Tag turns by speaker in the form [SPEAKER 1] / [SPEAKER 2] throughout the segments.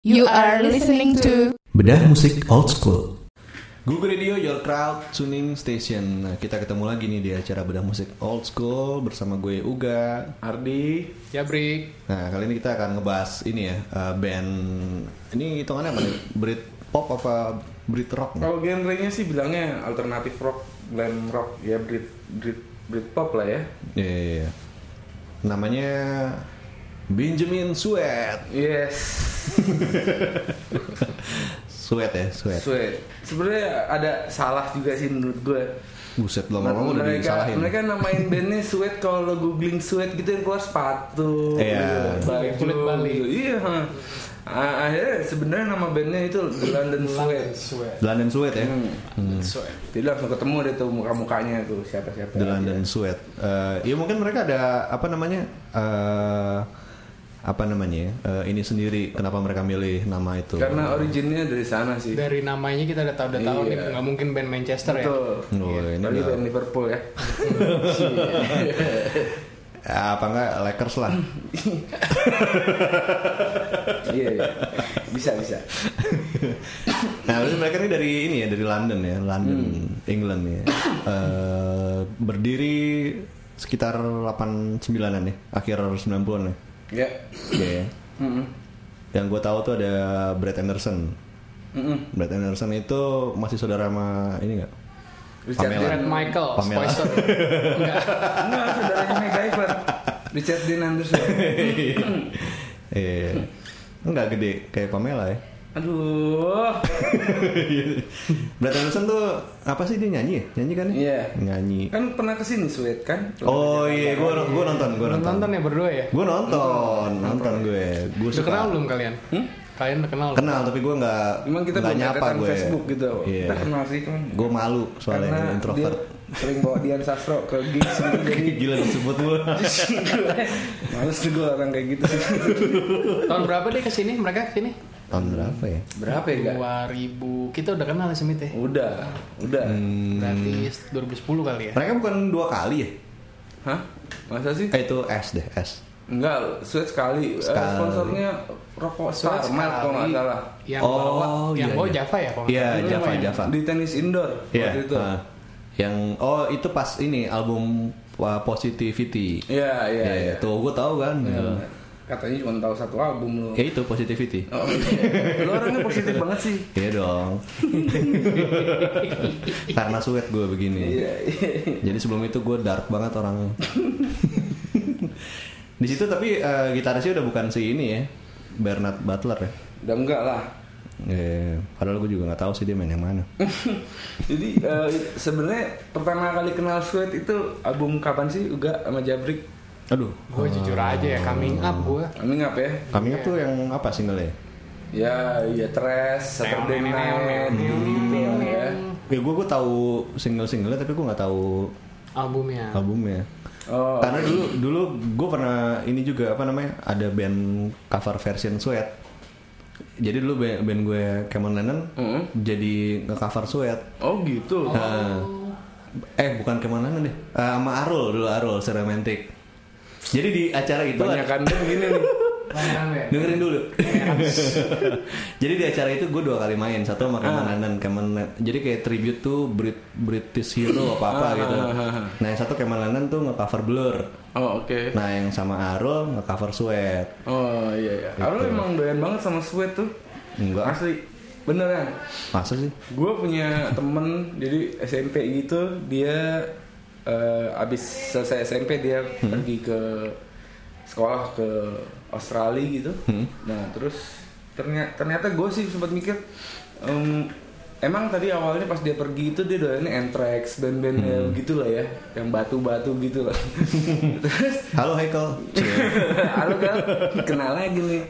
[SPEAKER 1] You are listening to
[SPEAKER 2] Bedah musik old school.
[SPEAKER 3] Google Radio Your Crowd Tuning Station. Nah, kita ketemu lagi nih di acara bedah musik old school bersama gue Uga, Ardi.
[SPEAKER 4] Jabri.
[SPEAKER 3] Nah kali ini kita akan ngebahas ini ya eh, band ini hitungannya apa nih? Brit pop apa Brit rock? nih?
[SPEAKER 4] Kalau genrenya sih bilangnya alternatif rock, glam rock, ya Brit Brit Britpop lah ya.
[SPEAKER 3] Iya iya. iya. Namanya Benjamin Sweat.
[SPEAKER 4] Yes.
[SPEAKER 3] Sweat ya Sweat.
[SPEAKER 4] Sesuai. Sebenarnya ada salah juga sih menurut gue.
[SPEAKER 3] Buset lama-lama udah
[SPEAKER 4] mereka,
[SPEAKER 3] disalahin.
[SPEAKER 4] mereka namain bandnya Sweat kalau lo googling Sweat gitu yang keluar sepatu,
[SPEAKER 3] Iya.
[SPEAKER 4] baju, kulit Bali. Iya. ha. Ah, akhirnya sebenarnya nama bandnya itu The London Sweat.
[SPEAKER 3] London Sweat ya.
[SPEAKER 4] Hmm. Jadi langsung ketemu deh tuh muka-mukanya tuh siapa-siapa.
[SPEAKER 3] The London Sweat. Eh, ya mungkin mereka ada apa namanya? eh apa namanya? ya, eh, ini sendiri kenapa mereka milih nama itu?
[SPEAKER 4] Karena originnya dari sana sih.
[SPEAKER 5] dari namanya kita udah tahu udah tahu
[SPEAKER 4] Iya.
[SPEAKER 5] nih nggak mungkin band Manchester ya
[SPEAKER 4] Betul.
[SPEAKER 3] Oh, ini
[SPEAKER 4] Bali
[SPEAKER 3] udah-
[SPEAKER 4] band Liverpool ya.
[SPEAKER 3] Ya, apa enggak Lakers lah.
[SPEAKER 4] Iya, iya. Bisa, bisa.
[SPEAKER 3] nah, terus mereka ini dari ini ya, dari London ya, London,
[SPEAKER 4] Hmm.
[SPEAKER 3] England ya. Eh, berdiri sekitar 89-an ya, akhir 90-an ya.
[SPEAKER 4] Ya.
[SPEAKER 3] Iya ya.
[SPEAKER 4] Mm-mm.
[SPEAKER 3] Yang gue tahu tuh ada Brad Anderson.
[SPEAKER 4] Mm-mm.
[SPEAKER 3] Brad Anderson itu masih saudara sama ini enggak?
[SPEAKER 4] Richard
[SPEAKER 3] Pamela.
[SPEAKER 5] Brad
[SPEAKER 4] Dean.
[SPEAKER 5] Michael
[SPEAKER 3] Pamela.
[SPEAKER 5] Spicer Enggak.
[SPEAKER 4] Enggak, saudaranya MacGyver. Richard Dean Anderson.
[SPEAKER 3] Iya. Enggak gede kayak Pamela ya.
[SPEAKER 4] Aduh.
[SPEAKER 3] Brad Anderson tuh apa sih dia nyanyi ya? Nyanyi kan? ya?
[SPEAKER 4] Iya.
[SPEAKER 3] Nyanyi.
[SPEAKER 4] Kan pernah kesini Sweet kan?
[SPEAKER 3] Oh iya, gue gua nonton, gue
[SPEAKER 5] Belum
[SPEAKER 3] nonton.
[SPEAKER 5] nonton ya berdua ya
[SPEAKER 3] Gue nonton, nonton gue. Gue
[SPEAKER 5] udah kenal belum kalian kalian udah kenal belum?
[SPEAKER 3] Hmm? Kenal tapi gue nggak
[SPEAKER 4] Emang kita
[SPEAKER 3] nggak
[SPEAKER 4] belum
[SPEAKER 3] nyapa
[SPEAKER 4] deketan
[SPEAKER 3] gue.
[SPEAKER 4] Facebook gitu.
[SPEAKER 3] Iya.
[SPEAKER 4] Kita kenal sih kan.
[SPEAKER 3] Gue malu soalnya
[SPEAKER 4] Karena
[SPEAKER 3] gue introvert.
[SPEAKER 4] dia sering bawa Dian Sastro ke gigs gitu. Jadi
[SPEAKER 3] Gila disebut gue.
[SPEAKER 4] males tuh gue orang kayak gitu sih.
[SPEAKER 5] tahun berapa deh kesini mereka kesini
[SPEAKER 3] Tahun berapa ya?
[SPEAKER 4] Berapa ya, Kak?
[SPEAKER 5] 2000 kita udah kenal ya Semit ya
[SPEAKER 4] Udah, udah.
[SPEAKER 3] Hmm.
[SPEAKER 5] berarti 2010 kali ya
[SPEAKER 3] Mereka bukan dua kali ya?
[SPEAKER 4] Hah? Masa sih?
[SPEAKER 3] Eh itu S deh S.
[SPEAKER 4] Enggak, sweat sekali. Eh,
[SPEAKER 3] Sekali.
[SPEAKER 4] Sponsornya rokok
[SPEAKER 5] Suat
[SPEAKER 4] Starmart kalau nggak
[SPEAKER 5] sekali.
[SPEAKER 4] salah.
[SPEAKER 5] yang bawa yang bawa Java ya kalau nggak
[SPEAKER 3] Oh, Iya
[SPEAKER 5] salah.
[SPEAKER 3] Java Java.
[SPEAKER 4] Di tenis indoor
[SPEAKER 3] Iya.
[SPEAKER 4] waktu itu.
[SPEAKER 3] ah. Yang oh itu pas ini album uh, Positivity.
[SPEAKER 4] Iya, iya,
[SPEAKER 3] Iya,
[SPEAKER 4] iya.
[SPEAKER 3] Tuh gue tahu kan.
[SPEAKER 4] Katanya cuma tahu satu album lu.
[SPEAKER 3] Ya itu Positivity.
[SPEAKER 4] Oh, iya. lu orangnya positif banget sih.
[SPEAKER 3] Iya dong. Karena suet gue begini.
[SPEAKER 4] Iya, iya.
[SPEAKER 3] Jadi sebelum itu gue dark banget orangnya. Di situ tapi eh, gitarisnya udah bukan si ini ya, Bernard Butler ya.
[SPEAKER 4] Udah enggak lah.
[SPEAKER 3] Eh, padahal gue juga nggak tahu sih dia main yang mana.
[SPEAKER 4] Jadi eh, sebenarnya pertama kali kenal sweat itu album kapan sih? Uga sama Jabrik.
[SPEAKER 3] Aduh,
[SPEAKER 5] gue jujur
[SPEAKER 3] Oh.
[SPEAKER 5] aja ya coming up gue
[SPEAKER 4] Kami ngap ya?
[SPEAKER 3] kami tuh yang apa single ya?
[SPEAKER 4] Ya, ya Trash, Saturday
[SPEAKER 5] Neon, neon,
[SPEAKER 4] Night, gitu ya.
[SPEAKER 3] Ya gue gue tahu single-singlenya tapi gue nggak tahu
[SPEAKER 5] albumnya
[SPEAKER 3] albumnya. ya.
[SPEAKER 4] Oh,
[SPEAKER 3] Karena dulu dulu gue pernah ini juga apa namanya ada band cover version Sweat. Jadi dulu ba- band gue Cameron Lennon
[SPEAKER 4] Mm.
[SPEAKER 3] jadi nge-cover Sweat.
[SPEAKER 4] oh gitu.
[SPEAKER 3] Nah, eh bukan Cameron Lennon deh. Eh, sama Arul dulu Arul Seremantic. Jadi di acara itu
[SPEAKER 4] Banyak kan gini nih.
[SPEAKER 3] dengerin dulu. jadi di acara itu gue dua kali main, satu sama
[SPEAKER 4] Ah.
[SPEAKER 3] Cameron Lennon, Cameron Lennon. Jadi kayak tribute tuh Brit- British Hero apa-apa
[SPEAKER 4] Ah,
[SPEAKER 3] gitu. Nah, yang satu Cameron Lennon tuh nge-cover Blur.
[SPEAKER 4] Oh, oke.
[SPEAKER 3] Nah yang sama Arul nge-cover sweat
[SPEAKER 4] Oh iya iya. Arul emang doyan banget sama sweat tuh.
[SPEAKER 3] Gitu. Enggak
[SPEAKER 4] Asli. Beneran.
[SPEAKER 3] Masa sih?
[SPEAKER 4] Gue punya temen jadi SMP gitu dia eh, abis selesai SMP dia
[SPEAKER 3] Hmm.
[SPEAKER 4] pergi ke sekolah ke Australia gitu.
[SPEAKER 3] Hmm.
[SPEAKER 4] Nah terus ternyata ternyata gue sih sempat mikir em, Emang tadi awalnya pas dia pergi itu dia doyannya Anthrax, band-band
[SPEAKER 3] Hmm.
[SPEAKER 4] yang gitu lah ya, yang batu-batu gitu lah. Terus
[SPEAKER 3] Halo Haikal
[SPEAKER 4] Halo kan, kenal lagi nih.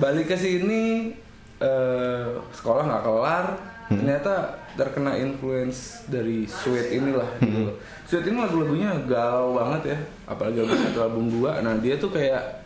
[SPEAKER 4] Balik ke sini eh, sekolah nggak kelar, ternyata terkena influence dari Sweet inilah. Gitu. Sweet ini lagu-lagunya galau banget ya, apalagi album satu album dua. Nah dia tuh kayak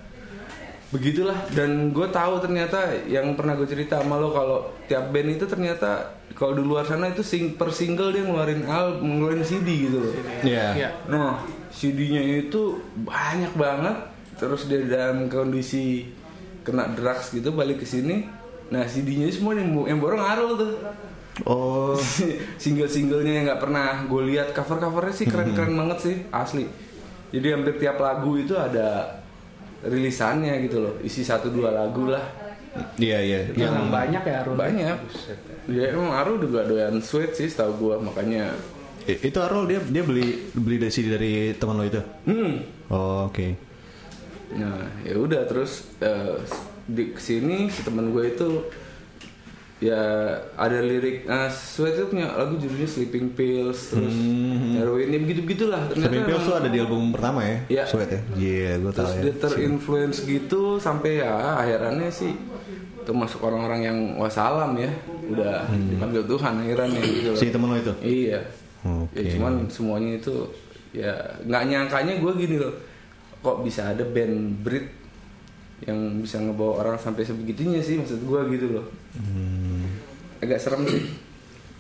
[SPEAKER 4] begitulah dan gue tahu ternyata yang pernah gue cerita sama lo kalau tiap band itu ternyata kalau di luar sana itu sing per single dia ngeluarin album ngeluarin CD gitu loh.
[SPEAKER 5] Iya.
[SPEAKER 3] Iya
[SPEAKER 4] Nah, CD-nya itu banyak banget. Terus dia dalam kondisi kena drugs gitu balik ke sini nah CD-nya semua yang, yang borong Arul tuh
[SPEAKER 3] Oh,
[SPEAKER 4] single-singlenya yang nggak pernah gue lihat cover-covernya sih keren-keren banget sih asli jadi hampir tiap lagu itu ada rilisannya gitu loh isi satu dua lagu lah
[SPEAKER 3] iya iya.
[SPEAKER 5] Itu
[SPEAKER 3] Yang
[SPEAKER 5] emang banyak ya Arul.
[SPEAKER 4] banyak dia emang Arul juga doyan sweet sih setahu gue makanya
[SPEAKER 3] I- itu Arul dia dia beli beli dari CD dari teman lo itu.
[SPEAKER 4] hmm,
[SPEAKER 3] Oh, oke.
[SPEAKER 4] Nah, ya udah terus eh, di kesini si teman gue itu ya ada lirik eh Sweat itu punya lagu judulnya Sleeping Pills terus heroin ya begitu begitulah
[SPEAKER 3] Hmm.
[SPEAKER 4] ternyata
[SPEAKER 3] Sleeping Pills tuh
[SPEAKER 4] emang-
[SPEAKER 3] ada di album pertama ya?
[SPEAKER 4] Iya.
[SPEAKER 3] Sweat ya? Iya, gue tahu
[SPEAKER 4] terus
[SPEAKER 3] ya.
[SPEAKER 4] dia terinfluence gitu sampai ya akhirannya sih termasuk orang-orang yang wasalam ya udah dipanggil Tuhan akhirannya gitu loh.
[SPEAKER 3] Hmm. Si temen lo itu?
[SPEAKER 4] Iya.
[SPEAKER 3] Oke.
[SPEAKER 4] Ya cuman semuanya itu ya nggak nyangkanya gue gini loh. Kok bisa ada band Brit yang bisa ngebawa orang sampai sebegitunya sih maksud gue gitu loh.
[SPEAKER 3] Hmm,
[SPEAKER 4] Agak serem sih.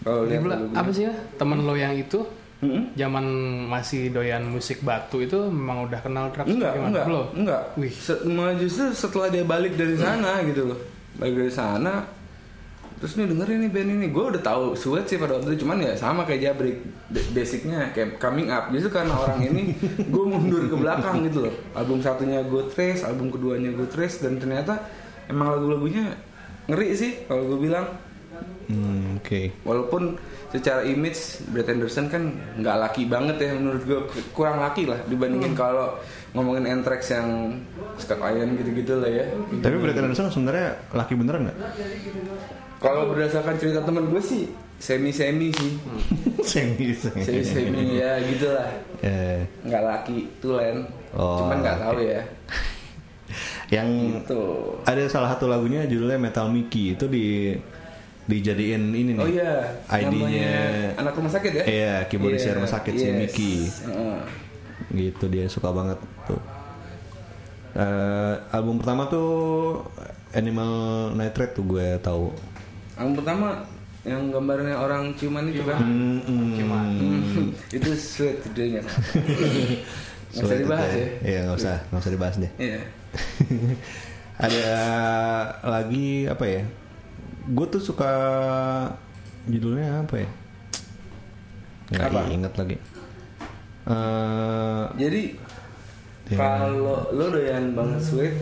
[SPEAKER 4] Kalau
[SPEAKER 5] Dia
[SPEAKER 4] lihat
[SPEAKER 5] bilang,
[SPEAKER 4] lagu- Hmm?
[SPEAKER 5] apa sih ya? Temen lo yang itu
[SPEAKER 4] Mm-mm.
[SPEAKER 5] zaman masih doyan musik batu itu memang udah kenal trap
[SPEAKER 4] Enggak, enggak,
[SPEAKER 5] belum
[SPEAKER 4] enggak.
[SPEAKER 5] Wih. Hmm.
[SPEAKER 4] Se- malah justru setelah dia balik dari sana gitu loh. Balik dari sana terus nih dengerin nih band ini. Gue udah tahu Sweat sih pada waktu itu cuman ya sama kayak Jabrik Ba- basicnya kayak coming up. Justru karena orang ini gue mundur ke belakang gitu loh. Album satunya gue trace, album keduanya gue trace dan ternyata emang lagu-lagunya ngeri sih kalau gue bilang.
[SPEAKER 3] Hmm, oke.
[SPEAKER 4] Walaupun secara image Brett Anderson kan nggak laki banget ya menurut gue kurang laki lah dibandingin
[SPEAKER 3] Hmm.
[SPEAKER 4] kalau ngomongin Anthrax yang Scott Ian gitu-gitu lah ya.
[SPEAKER 3] Tapi Brett Anderson sebenarnya laki beneran nggak?
[SPEAKER 4] Kalau berdasarkan cerita temen gue sih semi-semi sih,
[SPEAKER 3] Hmm. Semi semi.
[SPEAKER 4] semi-semi ya gitulah.
[SPEAKER 3] Eh,
[SPEAKER 4] Nggak laki tulen,
[SPEAKER 3] Oh, Hmm.
[SPEAKER 4] cuman nggak tahu ya. Gitu.
[SPEAKER 3] yang
[SPEAKER 4] Tuh.
[SPEAKER 3] ada salah satu lagunya judulnya Metal Mickey itu di dijadiin ini nih.
[SPEAKER 4] Oh iya,
[SPEAKER 3] ID-nya
[SPEAKER 4] namanya anak rumah sakit ya?
[SPEAKER 3] Iya, keyboardisnya
[SPEAKER 4] Iya,
[SPEAKER 3] rumah sakit si Mickey.
[SPEAKER 4] Heeh.
[SPEAKER 3] gitu dia suka banget tuh. Eh, album pertama tuh Animal Nitrate tuh gue tahu.
[SPEAKER 4] Yang pertama yang gambarnya orang ciuman itu kan.
[SPEAKER 3] Mm-mm.
[SPEAKER 4] Hmm, itu sweet judulnya. Nggak usah
[SPEAKER 3] Sulit
[SPEAKER 4] dibahas
[SPEAKER 3] itu
[SPEAKER 4] ya.
[SPEAKER 3] Iya nggak usah, nggak usah dibahas deh.
[SPEAKER 4] Iya.
[SPEAKER 3] ada lagi apa ya? Gue tuh suka judulnya apa ya? Nggak
[SPEAKER 4] Apa?
[SPEAKER 3] inget lagi. Eh,
[SPEAKER 4] Jadi
[SPEAKER 3] Iya.
[SPEAKER 4] kalau lo doyan banget sweet,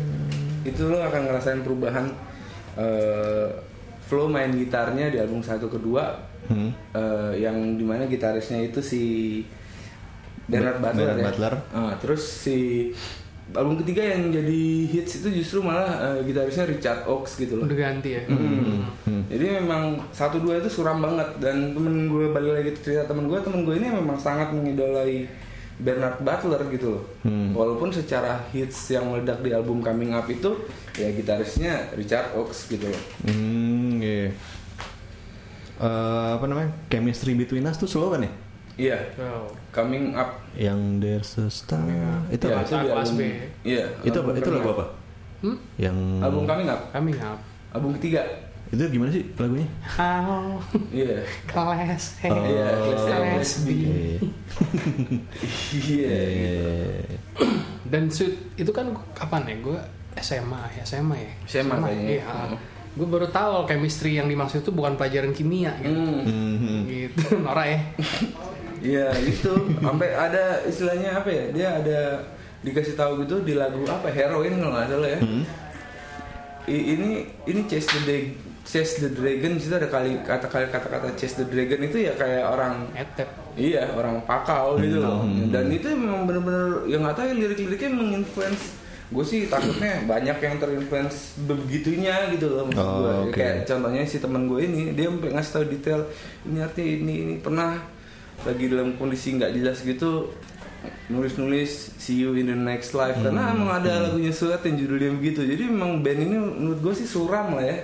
[SPEAKER 4] itu lo akan ngerasain perubahan eh, flow main gitarnya di album satu kedua,
[SPEAKER 3] hmm.
[SPEAKER 4] eh, yang dimana gitarisnya itu si Bernard
[SPEAKER 3] Ba-
[SPEAKER 4] Butler.
[SPEAKER 3] Bernard
[SPEAKER 4] ya.
[SPEAKER 3] Butler.
[SPEAKER 4] Ah, terus si album ketiga yang jadi hits itu justru malah eh, gitarisnya Richard Oakes gitu loh.
[SPEAKER 5] udah ganti ya
[SPEAKER 4] Hmm.
[SPEAKER 3] Hmm.
[SPEAKER 4] Jadi memang satu dua itu suram banget dan temen gue balik lagi ke cerita temen gue temen gue ini memang sangat mengidolai Bernard Butler gitu loh.
[SPEAKER 3] Hmm.
[SPEAKER 4] Walaupun secara hits yang meledak di album Coming Up itu ya gitarisnya Richard Oakes gitu loh.
[SPEAKER 3] Hmm, iya. Eh, apa namanya? Chemistry between us tuh slow kan ya?
[SPEAKER 4] Iya,
[SPEAKER 5] Tuh.
[SPEAKER 4] Coming Up
[SPEAKER 3] Yang there's a star. Itu apa?
[SPEAKER 4] ya, itu di
[SPEAKER 5] Kelas
[SPEAKER 4] album.
[SPEAKER 5] B.
[SPEAKER 4] Iya.
[SPEAKER 3] Itu apa? Itu lagu
[SPEAKER 4] Coming
[SPEAKER 3] apa?
[SPEAKER 4] Up.
[SPEAKER 5] Hmm?
[SPEAKER 3] Yang
[SPEAKER 4] Album Coming Up,
[SPEAKER 5] kami ngap
[SPEAKER 4] album ketiga.
[SPEAKER 3] itu gimana sih lagunya?
[SPEAKER 5] how
[SPEAKER 4] Iya.
[SPEAKER 5] kelas hey.
[SPEAKER 4] Iya, kelas A,
[SPEAKER 5] kelas
[SPEAKER 4] kelas B.
[SPEAKER 5] B
[SPEAKER 3] Eh,
[SPEAKER 4] Iya. gitu.
[SPEAKER 3] eh,
[SPEAKER 5] dan suit itu kan gua- kapan ya gue SMA ya SMA ya
[SPEAKER 4] SMA kayaknya.
[SPEAKER 5] iya
[SPEAKER 4] Hmm.
[SPEAKER 5] gue baru tahu chemistry yang dimaksud itu bukan pelajaran kimia gitu
[SPEAKER 4] Hmm.
[SPEAKER 3] mhm.
[SPEAKER 5] gitu Nora ya
[SPEAKER 4] Iya gitu. Sampai ada istilahnya apa ya? Dia ada dikasih tahu gitu di lagu apa heroin kalau nggak salah ya. I- ini ini chase the Dra- chase the dragon di situ ada kali kata kali kata kata chase the dragon itu ya kayak orang
[SPEAKER 5] etep
[SPEAKER 4] iya orang pakau gitu loh.
[SPEAKER 3] Hmm.
[SPEAKER 4] Dan itu memang bener-bener yang nggak tahu ya, lirik-liriknya menginfluence gue sih takutnya banyak yang terinfluence begitunya gitu loh maksud
[SPEAKER 3] Oh,
[SPEAKER 4] gue
[SPEAKER 3] oke.
[SPEAKER 4] kayak contohnya si teman gue ini dia sampai ngasih tahu detail ini artinya ini ini pernah lagi dalam kondisi nggak jelas gitu nulis nulis see you in the next life karena
[SPEAKER 3] Hmm,
[SPEAKER 4] emang ada lagunya surat yang judulnya begitu jadi memang band ini menurut gue sih suram lah ya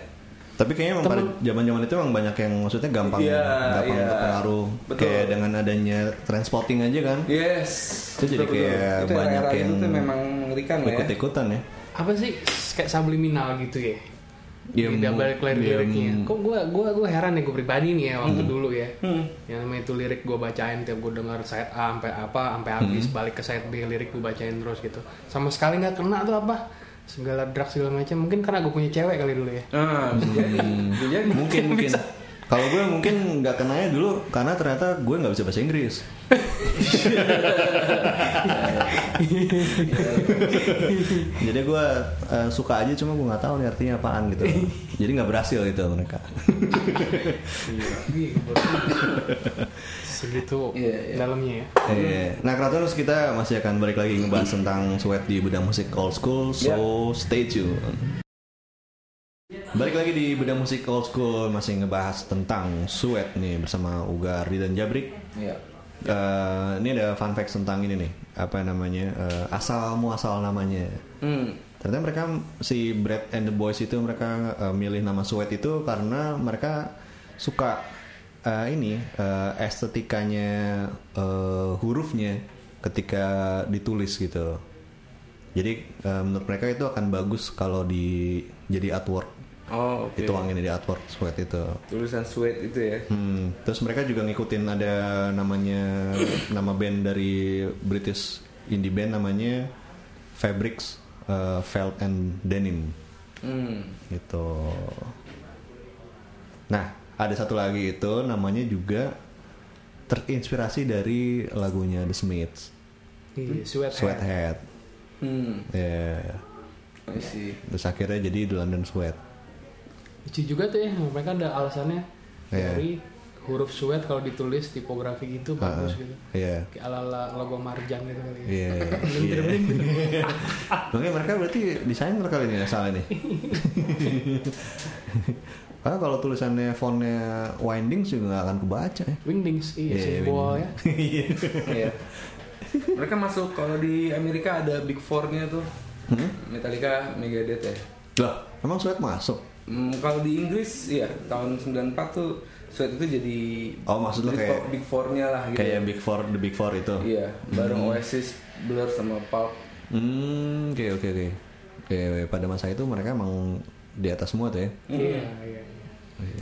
[SPEAKER 3] Tapi kayaknya emang pada zaman-zaman itu emang banyak yang maksudnya gampang
[SPEAKER 4] Iya,
[SPEAKER 3] gampang
[SPEAKER 4] iya.
[SPEAKER 3] terpengaruh
[SPEAKER 4] Betul. Iya,
[SPEAKER 3] kayak dengan adanya transporting aja kan.
[SPEAKER 4] yes
[SPEAKER 3] Itu jadi
[SPEAKER 4] betul-betul.
[SPEAKER 3] kayak
[SPEAKER 4] Itu
[SPEAKER 3] banyak
[SPEAKER 4] era-era
[SPEAKER 3] yang
[SPEAKER 4] itu tuh memang mengerikan ya
[SPEAKER 3] Ikut-ikutan ya.
[SPEAKER 5] apa sih kayak subliminal gitu ya
[SPEAKER 3] Iya,
[SPEAKER 5] tidak
[SPEAKER 3] mu-
[SPEAKER 5] balik lirik
[SPEAKER 3] iya,
[SPEAKER 5] liriknya
[SPEAKER 3] mu-
[SPEAKER 5] gitu. kok gue gua gua heran ya gue pribadi nih ya waktu dulu ya
[SPEAKER 4] Hmm.
[SPEAKER 5] yang namanya itu lirik gue bacain tiap gue denger side A sampai apa sampai habis balik ke side B lirik gue bacain terus gitu sama sekali nggak kena tuh apa segala drug segala macam mungkin karena gue punya cewek kali dulu ya
[SPEAKER 4] Ah, bisa jadi. Bisa jadi.
[SPEAKER 3] mungkin mungkin kalau gue mungkin nggak kenanya dulu karena ternyata gue nggak bisa bahasa Inggris jadi gue eh, suka aja cuma gue nggak tahu nih artinya apaan gitu jadi nggak berhasil itu mereka
[SPEAKER 5] segitu
[SPEAKER 4] Iya, iya.
[SPEAKER 5] dalamnya ya
[SPEAKER 3] Eh, nah Kratonus kita masih akan balik lagi ngebahas tentang sweat di bidang musik old school so stay tune Balik lagi di Bedah Musik Old School masih ngebahas tentang sweat nih bersama Uga Ardi dan Jabrik.
[SPEAKER 4] Iya.
[SPEAKER 3] Eh, ini ada fun fact tentang ini nih apa namanya eh, asal muasal namanya
[SPEAKER 4] Hmm.
[SPEAKER 3] ternyata mereka si Brad and the Boys itu mereka eh, milih nama Sweat itu karena mereka suka eh, ini eh, estetikanya eh, hurufnya ketika ditulis gitu jadi eh, menurut mereka itu akan bagus kalau di jadi artwork
[SPEAKER 4] Oh, oke.
[SPEAKER 3] dituangin di artwork Sweat itu
[SPEAKER 4] Tulisan sweat itu ya.
[SPEAKER 3] Hmm, terus mereka juga ngikutin ada namanya nama band dari British indie band namanya Fabrics uh, Felt and Denim
[SPEAKER 4] Hmm.
[SPEAKER 3] gitu. Nah, ada satu lagi itu namanya juga terinspirasi dari lagunya The Smiths,
[SPEAKER 5] di Iya, sweat
[SPEAKER 3] Sweathead.
[SPEAKER 4] Hmm.
[SPEAKER 3] Ya,
[SPEAKER 4] I see.
[SPEAKER 3] terus akhirnya jadi The London Sweat.
[SPEAKER 5] lucu juga tuh ya mereka ada alasannya
[SPEAKER 3] Iya.
[SPEAKER 5] dari huruf sweat kalau ditulis tipografi gitu bagus gitu
[SPEAKER 3] Iya.
[SPEAKER 5] kayak ala ala logo marjan gitu kali ya
[SPEAKER 3] Iya. iya. Makanya mereka berarti desainer kali ini salah nih. Karena kalau tulisannya fontnya winding juga nggak akan kebaca ya.
[SPEAKER 5] wingdings iya
[SPEAKER 3] Iya,
[SPEAKER 5] simbol ya
[SPEAKER 4] Iya. Mereka masuk kalau di Amerika ada Big Four-nya tuh.
[SPEAKER 3] Hmm?
[SPEAKER 4] Metallica, Megadeth ya.
[SPEAKER 3] Lah, emang sweat masuk.
[SPEAKER 4] Hmm, kalau di Inggris iya tahun 94 tuh sweat itu jadi
[SPEAKER 3] Oh, maksud lo
[SPEAKER 4] Big
[SPEAKER 3] kayak-
[SPEAKER 4] Four- Big Four-nya lah gitu.
[SPEAKER 3] Kayak Big Four, the Big Four Hmm. itu.
[SPEAKER 4] Iya, bareng Oasis, Blur sama Pulp.
[SPEAKER 3] Hmm, oke oke oke. Oke, pada masa itu mereka emang di atas semua tuh ya.
[SPEAKER 5] iya iya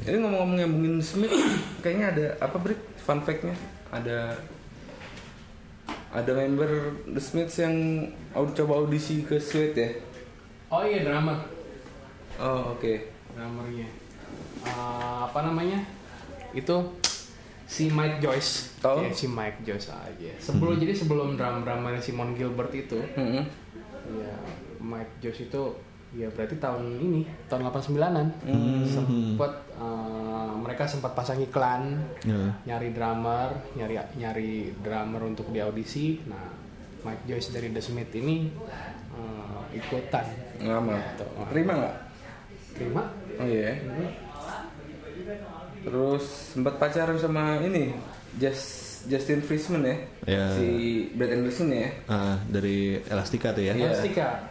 [SPEAKER 4] Ini ngomong-ngomong nyambungin Smith, kayaknya ada apa Brit? Fun fact-nya ada ada member The Smiths yang aud- coba audisi ke Sweet ya.
[SPEAKER 5] oh iya drama
[SPEAKER 4] Oh oke.
[SPEAKER 5] drummernya Eh, apa namanya itu si Mike Joyce
[SPEAKER 4] Oh.
[SPEAKER 5] Iya, si Mike Joyce aja sebelum jadi sebelum drum drummernya Simon Gilbert itu
[SPEAKER 4] Mm-mm.
[SPEAKER 5] ya Mike Joyce itu ya berarti tahun ini tahun 89an Hmm. sempat eh, mereka sempat pasang iklan
[SPEAKER 3] Iya.
[SPEAKER 5] nyari drummer nyari nyari drummer untuk di audisi nah Mike Joyce dari The Smith ini eh, ikutan
[SPEAKER 4] Lama. Terima nggak?
[SPEAKER 5] terima
[SPEAKER 4] Oh iya. Terus sempat pacaran sama ini Just, Justin Friesman ya.
[SPEAKER 3] Iya.
[SPEAKER 4] Si Brad Anderson ya.
[SPEAKER 3] Ah, dari Elastica tuh ya.
[SPEAKER 4] Iya.
[SPEAKER 5] Elastika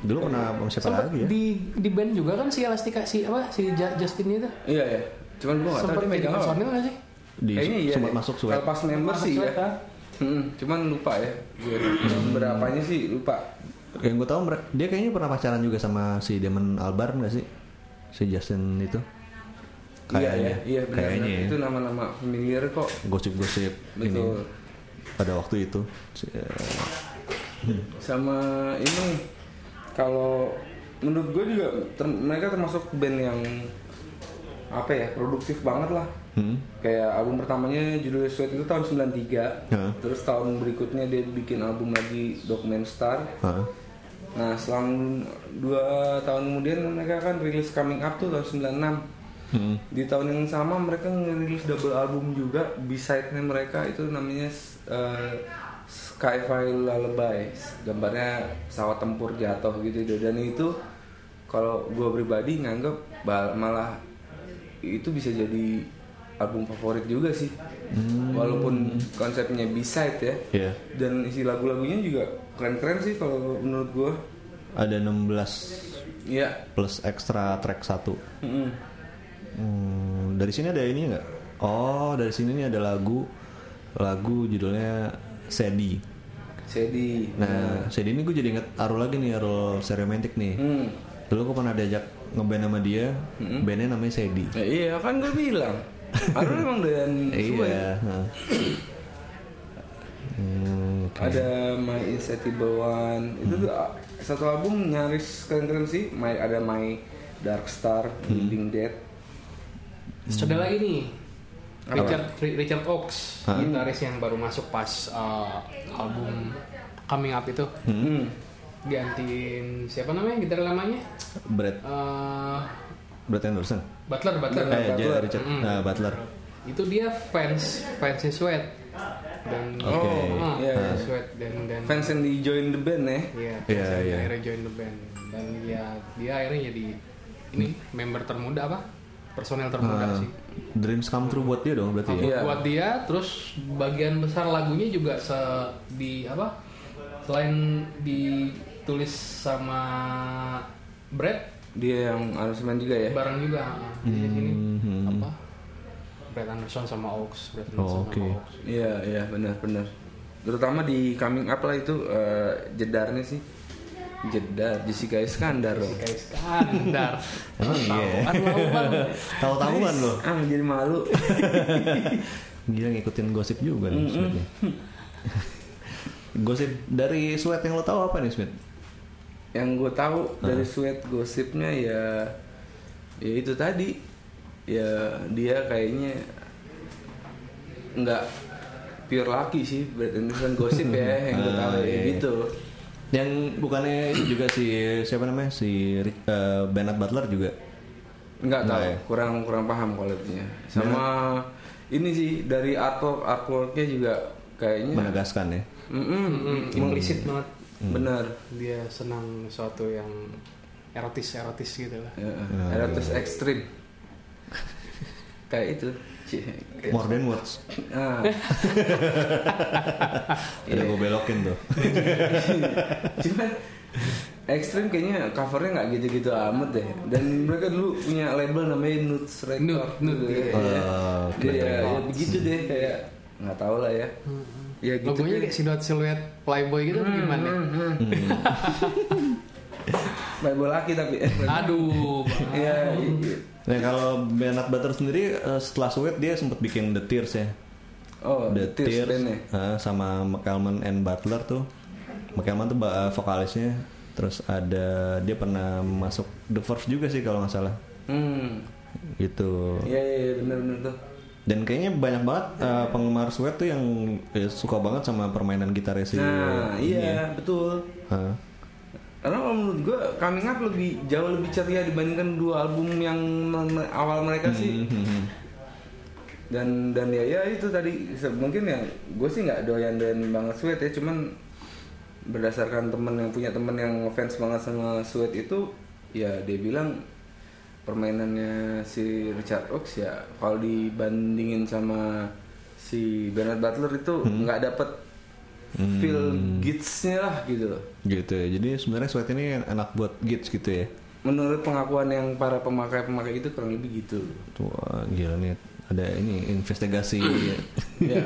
[SPEAKER 3] Dulu pernah sama siapa
[SPEAKER 5] Sempet
[SPEAKER 3] lagi ya?
[SPEAKER 5] di di band juga kan si Elastika si apa si Ja- Justin itu
[SPEAKER 4] Iya ya. Cuman gua nggak tahu
[SPEAKER 5] sempat
[SPEAKER 4] dia
[SPEAKER 5] jadi
[SPEAKER 4] megang apa.
[SPEAKER 5] personil nggak sih
[SPEAKER 3] Di,
[SPEAKER 4] Kayaknya iya.
[SPEAKER 3] sempat
[SPEAKER 4] deh.
[SPEAKER 3] masuk sweat.
[SPEAKER 4] Lepas member
[SPEAKER 5] Masuk
[SPEAKER 4] sih ya.
[SPEAKER 5] sweat, kan?
[SPEAKER 4] Hmm, cuman lupa ya. Gue
[SPEAKER 3] Hmm.
[SPEAKER 4] berapanya sih lupa.
[SPEAKER 3] Yang gue tahu mere- dia kayaknya pernah pacaran juga sama si Damon Albarn gak sih? Si Justin itu.
[SPEAKER 4] iya ya.
[SPEAKER 3] Kayaknya.
[SPEAKER 4] Iya benar.
[SPEAKER 3] Kayaknya ya.
[SPEAKER 4] Itu nama-nama familiar kok.
[SPEAKER 3] Gosip-gosip ini
[SPEAKER 4] Betul.
[SPEAKER 3] pada waktu itu. Si- eh,
[SPEAKER 4] Sama ini kalau menurut gue juga ter- mereka termasuk band yang apa ya produktif banget lah.
[SPEAKER 3] hmm,
[SPEAKER 4] Kayak album pertamanya judulnya Sweat itu tahun 93
[SPEAKER 3] Heeh.
[SPEAKER 4] Terus tahun berikutnya dia bikin album lagi Dokumen Star
[SPEAKER 3] ah,
[SPEAKER 4] Nah selang dua tahun kemudian mereka kan rilis Coming Up tuh tahun 96
[SPEAKER 3] hmm.
[SPEAKER 4] Di tahun yang sama mereka ngerilis double album juga Beside-nya mereka itu namanya eh, Skyfly Lullaby Gambarnya pesawat tempur jatuh gitu Dan itu kalau gue pribadi nganggep bal- malah itu bisa jadi album favorit juga sih Walaupun konsepnya beside ya
[SPEAKER 3] Hmm. Iya.
[SPEAKER 4] Dan isi lagu-lagunya juga keren-keren sih kalau menurut gue
[SPEAKER 3] Ada 16
[SPEAKER 4] Iya
[SPEAKER 3] plus extra track 1.
[SPEAKER 4] Mm-mm.
[SPEAKER 3] Hmm, dari sini ada ini nggak? Oh, dari sini nih ada lagu lagu judulnya Sedi.
[SPEAKER 4] Sedih
[SPEAKER 3] Nah, Sedi ini gue jadi inget Arul lagi nih, Arul Seremantic nih.
[SPEAKER 4] Iya. Hmm.
[SPEAKER 3] Dulu gue pernah diajak ngeband sama dia, bandnya namanya Sedi.
[SPEAKER 4] Ya, iya kan gue bilang. Arul emang dan
[SPEAKER 3] Iya. heeh. Hmm, Oke
[SPEAKER 4] ada My Insatiable One itu tuh ah, satu album nyaris keren-keren sih My ada My Dark Star, Living Dead
[SPEAKER 5] Terus ada lagi nih
[SPEAKER 4] Apa?
[SPEAKER 5] Richard Ri- Richard Ox, gitaris yang baru masuk pas uh, album Coming Up itu.
[SPEAKER 4] Hmm.
[SPEAKER 5] Gantiin siapa namanya gitar lamanya?
[SPEAKER 3] Brad
[SPEAKER 5] Eh,
[SPEAKER 3] Brad Anderson.
[SPEAKER 5] Butler Butler. Hmm.
[SPEAKER 3] Eh,
[SPEAKER 4] Butler. Mm.
[SPEAKER 3] J- Richard nah, Butler.
[SPEAKER 5] Itu dia fans fans Sweat dan
[SPEAKER 3] Oke.
[SPEAKER 5] Ah,
[SPEAKER 4] Iya, iya.
[SPEAKER 5] Sweat dan dan
[SPEAKER 4] fans yang di join the band ya
[SPEAKER 5] Iya,
[SPEAKER 3] Iya,
[SPEAKER 5] fans yang
[SPEAKER 3] iya.
[SPEAKER 5] akhirnya join the band dan ya dia akhirnya jadi ini member termuda apa? Personel termuda
[SPEAKER 3] Nah,
[SPEAKER 5] sih.
[SPEAKER 3] dreams come true buat dia dong berarti. ya?
[SPEAKER 4] Iya.
[SPEAKER 5] buat dia terus bagian besar lagunya juga se di apa selain ditulis sama Brad
[SPEAKER 4] dia yang aransemen juga ya
[SPEAKER 5] bareng juga ah, di sini apa Brad Anderson sama Oaks Brad Anderson
[SPEAKER 3] Oh,
[SPEAKER 5] sama
[SPEAKER 3] oke.
[SPEAKER 5] Oaks.
[SPEAKER 4] Iya iya benar-benar. Terutama di coming up lah itu eh, jedarnya sih. Jedar Jessica Iskandar loh.
[SPEAKER 5] Kayak standar
[SPEAKER 3] Emang iya. Tahu-tahuan loh.
[SPEAKER 4] Ah jadi malu.
[SPEAKER 3] Gila ngikutin gosip juga nih Smith nih. Gosip dari Sweat yang lo tahu apa nih Smith?
[SPEAKER 4] yang gue tahu dari sweat gosipnya ya ya itu tadi ya dia kayaknya nggak pure laki sih berarti ini kan gosip ya yang gue tahu ya
[SPEAKER 3] iya.
[SPEAKER 4] gitu
[SPEAKER 3] Yang bukannya itu juga si siapa namanya si Ri- eh, Bernard Butler juga.
[SPEAKER 4] nggak tahu
[SPEAKER 3] Nggak ya?
[SPEAKER 4] kurang kurang paham kualitasnya sama ini sih dari artwork artworknya juga kayaknya
[SPEAKER 3] Menegaskan ya.
[SPEAKER 4] Mm-mm.
[SPEAKER 5] hmm, implisit banget
[SPEAKER 3] Mm.
[SPEAKER 4] Benar.
[SPEAKER 5] dia senang sesuatu yang erotis erotis gitu lah
[SPEAKER 4] Ya, Ada terus ekstrim. Kayak itu. Cie, kayak-
[SPEAKER 3] More than words.
[SPEAKER 4] Ah,
[SPEAKER 3] Ada gue belokin tuh.
[SPEAKER 4] Cuman ekstrim kayaknya covernya nggak gitu-gitu amat deh. Dan mereka dulu punya label namanya Nuts Record.
[SPEAKER 5] Nude, Nude,
[SPEAKER 4] Iya,
[SPEAKER 5] iya.
[SPEAKER 4] iya.
[SPEAKER 3] Oh, oke.
[SPEAKER 4] Iya, iya, begitu deh kayak nggak tahu lah ya. Ya gitu deh.
[SPEAKER 5] logonya kayak siluet siluet playboy gitu apa gimana
[SPEAKER 4] Label laki tapi.
[SPEAKER 5] aduh Bang.
[SPEAKER 4] Iya. iya.
[SPEAKER 3] Nah kalau Bernard Butler sendiri eh, setelah Sweat dia sempat bikin The Tears ya.
[SPEAKER 4] Oh,
[SPEAKER 3] The Tears,
[SPEAKER 4] bandnya.
[SPEAKER 3] eh, sama McElman and Butler tuh. McElman tuh ba- eh, vokalisnya. Terus ada dia pernah masuk The Verve juga sih kalau nggak salah.
[SPEAKER 4] Hmm.
[SPEAKER 3] Gitu.
[SPEAKER 4] Iya, iya, iya, benar-benar tuh.
[SPEAKER 3] Dan kayaknya banyak banget eh, penggemar Sweat tuh yang eh, suka banget sama permainan gitarnya si. ya.
[SPEAKER 4] Nah, iya, betul.
[SPEAKER 3] Hah?
[SPEAKER 4] Karena kalau menurut gue Coming Up lebih jauh lebih ceria dibandingkan dua album yang me- awal mereka sih. Dan dan ya ya itu tadi se- mungkin ya gue sih nggak doyan-doyan banget Sweat ya cuman berdasarkan temen yang punya temen yang fans banget sama Sweat itu ya dia bilang permainannya si Richard Ox ya kalau dibandingin sama si Bernard Butler itu nggak dapet feel gitsnya lah gitu loh.
[SPEAKER 3] Gitu ya. Jadi sebenarnya Sweat ini en- enak buat gigs gitu ya.
[SPEAKER 4] Menurut pengakuan yang para pemakai-pemakai itu kurang lebih gitu.
[SPEAKER 3] Tuh wah, gila nih ada ini investigasi.
[SPEAKER 4] Ya.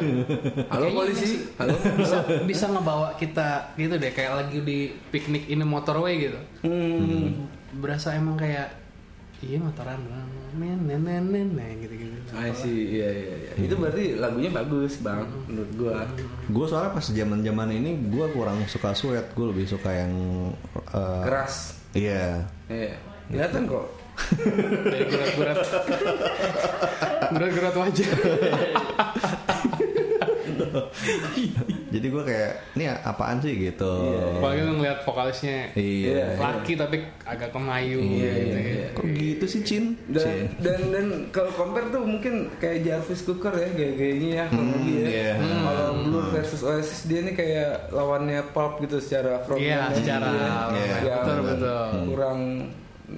[SPEAKER 4] Halo polisi, halo.
[SPEAKER 5] bisa bisa ngebawa kita gitu deh kayak lagi di piknik in the motorway gitu
[SPEAKER 4] Hmm.
[SPEAKER 5] berasa emang kayak iya motoran doang. nen nen nen nen nen, gitu gitu
[SPEAKER 4] I see. Iya iya iya.
[SPEAKER 3] Hmm.
[SPEAKER 4] Itu berarti lagunya bagus, Bang. Menurut gua.
[SPEAKER 3] gue soalnya pas zaman zaman ini gue kurang suka Sweat. Gue lebih suka yang eh,
[SPEAKER 4] Keras.
[SPEAKER 3] Iya.
[SPEAKER 4] Iya. Kelihatan kok.
[SPEAKER 5] dari gerak gerak gerak gerak wajah
[SPEAKER 3] Jadi gue kayak ini apaan sih gitu.
[SPEAKER 4] Iya.
[SPEAKER 5] apalagi lu ngeliat vokalisnya
[SPEAKER 3] Iya.
[SPEAKER 5] laki tapi agak kemayu gitu ya.
[SPEAKER 4] Iya.
[SPEAKER 3] Kok gitu sih Cin?
[SPEAKER 4] Dan dan dan kalau compare tuh mungkin kayak Jarvis Cooker ya gaya-gayanya ya kurang lebih ya.
[SPEAKER 3] iya.
[SPEAKER 4] Kalau Blur versus Oasis dia ini kayak lawannya pop gitu secara frontman.
[SPEAKER 5] Iya,
[SPEAKER 4] dan
[SPEAKER 5] secara
[SPEAKER 4] gitu ya.
[SPEAKER 3] Iya, Hmm.
[SPEAKER 4] Yang
[SPEAKER 5] betul, betul.
[SPEAKER 4] Kurang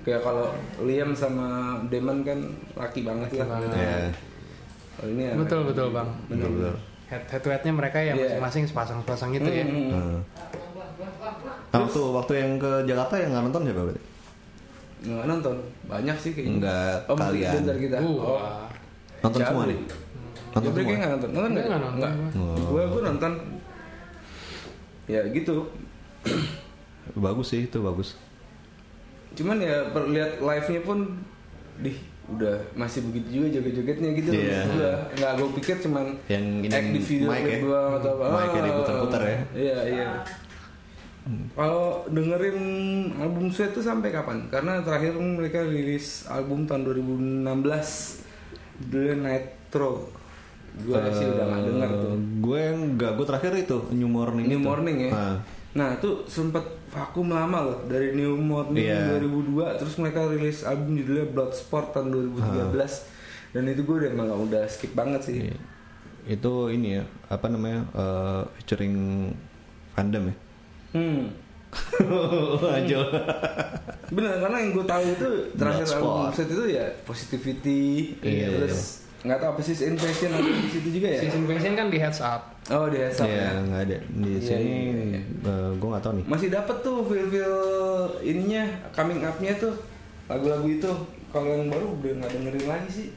[SPEAKER 4] kayak kalau Liam sama Damon kan laki banget lah.
[SPEAKER 5] banget.
[SPEAKER 4] gitu.
[SPEAKER 3] Iya.
[SPEAKER 4] Kalau ini ya,
[SPEAKER 5] betul betul bang
[SPEAKER 3] Bener bener.
[SPEAKER 5] head head to headnya mereka ya
[SPEAKER 4] Iya.
[SPEAKER 5] masing-masing sepasang sepasang
[SPEAKER 4] Hmm.
[SPEAKER 5] gitu ya
[SPEAKER 3] Nah. waktu waktu yang ke Jakarta yang nggak nonton siapa berarti?
[SPEAKER 4] nggak nonton banyak sih kayaknya.
[SPEAKER 3] Enggak,
[SPEAKER 4] oh, mungkin
[SPEAKER 3] kalian.
[SPEAKER 4] bentar kita.
[SPEAKER 5] Uh,
[SPEAKER 4] oh.
[SPEAKER 3] Nonton
[SPEAKER 4] Jabri.
[SPEAKER 3] semua nih. Nonton
[SPEAKER 4] Jabri
[SPEAKER 3] semua.
[SPEAKER 4] kayaknya Ya, nggak nonton. Nonton nggak?
[SPEAKER 5] Nggak nonton.
[SPEAKER 4] Nggak. Gua gua nonton. Ya gitu.
[SPEAKER 3] Bagus sih itu bagus.
[SPEAKER 4] Cuman ya per- lihat live-nya pun di udah masih begitu juga joget-jogetnya gitu loh
[SPEAKER 3] Iya.
[SPEAKER 4] maksud gua. nggak gue pikir cuman
[SPEAKER 3] Yang ini
[SPEAKER 4] act di video
[SPEAKER 3] mic
[SPEAKER 4] clip
[SPEAKER 3] ya.
[SPEAKER 4] doang atau apa Ah.
[SPEAKER 3] Mic yang diputar-putar ya.
[SPEAKER 4] iya iya kalau dengerin album Sweat itu sampai kapan? Karena terakhir mereka rilis album tahun 2016 The Nitro. Gue sih udah gak denger tuh.
[SPEAKER 3] Gue enggak, gue terakhir itu New Morning.
[SPEAKER 4] New
[SPEAKER 3] itu.
[SPEAKER 4] Morning ya.
[SPEAKER 3] Ah.
[SPEAKER 4] Nah, itu sempet vakum lama loh dari New Morning
[SPEAKER 3] Iya.
[SPEAKER 4] 2002 terus mereka rilis album judulnya Bloodsport tahun 2013. Dan itu gue udah malah udah skip banget sih.
[SPEAKER 3] Ah. Iya. Itu ini ya, apa namanya? eh, featuring fandom ya.
[SPEAKER 4] Hmm.
[SPEAKER 3] Ajo.
[SPEAKER 4] Bener karena yang gue tahu itu terakhir album
[SPEAKER 3] Bloodsport.
[SPEAKER 4] set itu ya Positivity
[SPEAKER 3] Iya,
[SPEAKER 4] terus nggak tahu apa sih Invasion atau di situ juga ya.
[SPEAKER 5] Season Fashion kan di heads up.
[SPEAKER 4] Oh di heads up
[SPEAKER 3] Iya,
[SPEAKER 4] ya.
[SPEAKER 3] enggak ada. Di
[SPEAKER 4] Iya,
[SPEAKER 3] sini
[SPEAKER 4] iya, iya.
[SPEAKER 3] eh, gue enggak tahu nih.
[SPEAKER 4] Masih dapet tuh feel-feel ininya coming up-nya tuh lagu-lagu itu. Kalau yang baru udah nggak dengerin lagi sih.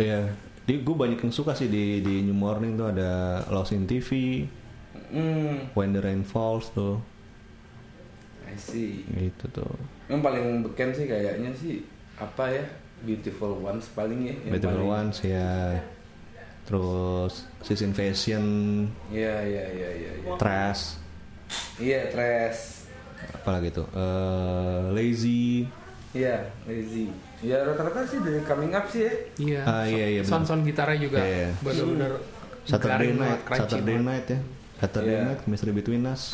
[SPEAKER 3] Iya. Di gue banyak yang suka sih di di New Morning tuh ada Lost in TV,
[SPEAKER 4] Hmm,
[SPEAKER 3] When the Rain Falls tuh.
[SPEAKER 4] I see.
[SPEAKER 3] Gitu tuh.
[SPEAKER 4] Yang paling beken sih kayaknya sih apa ya? Beautiful Ones paling ya. yang
[SPEAKER 3] Better
[SPEAKER 4] paling-
[SPEAKER 3] Ones ya. Terus Sis Invasion,
[SPEAKER 4] Iya iya iya iya. iya.
[SPEAKER 3] Trash,
[SPEAKER 4] Iya, Trash.
[SPEAKER 3] apalagi tuh. eh, lazy.
[SPEAKER 4] Iya, Lazy. Ya rata-rata sih dari coming up sih ya.
[SPEAKER 5] Iya.
[SPEAKER 3] Ah, iya, iya,
[SPEAKER 5] Sound sound gitarnya juga
[SPEAKER 3] Iya.
[SPEAKER 5] benar-benar
[SPEAKER 3] Saturday
[SPEAKER 5] garing banget,
[SPEAKER 3] night,
[SPEAKER 5] crunchy
[SPEAKER 3] Saturday
[SPEAKER 5] banget.
[SPEAKER 3] night ya. Saturday
[SPEAKER 4] Iya.
[SPEAKER 3] night, Mystery Between Us.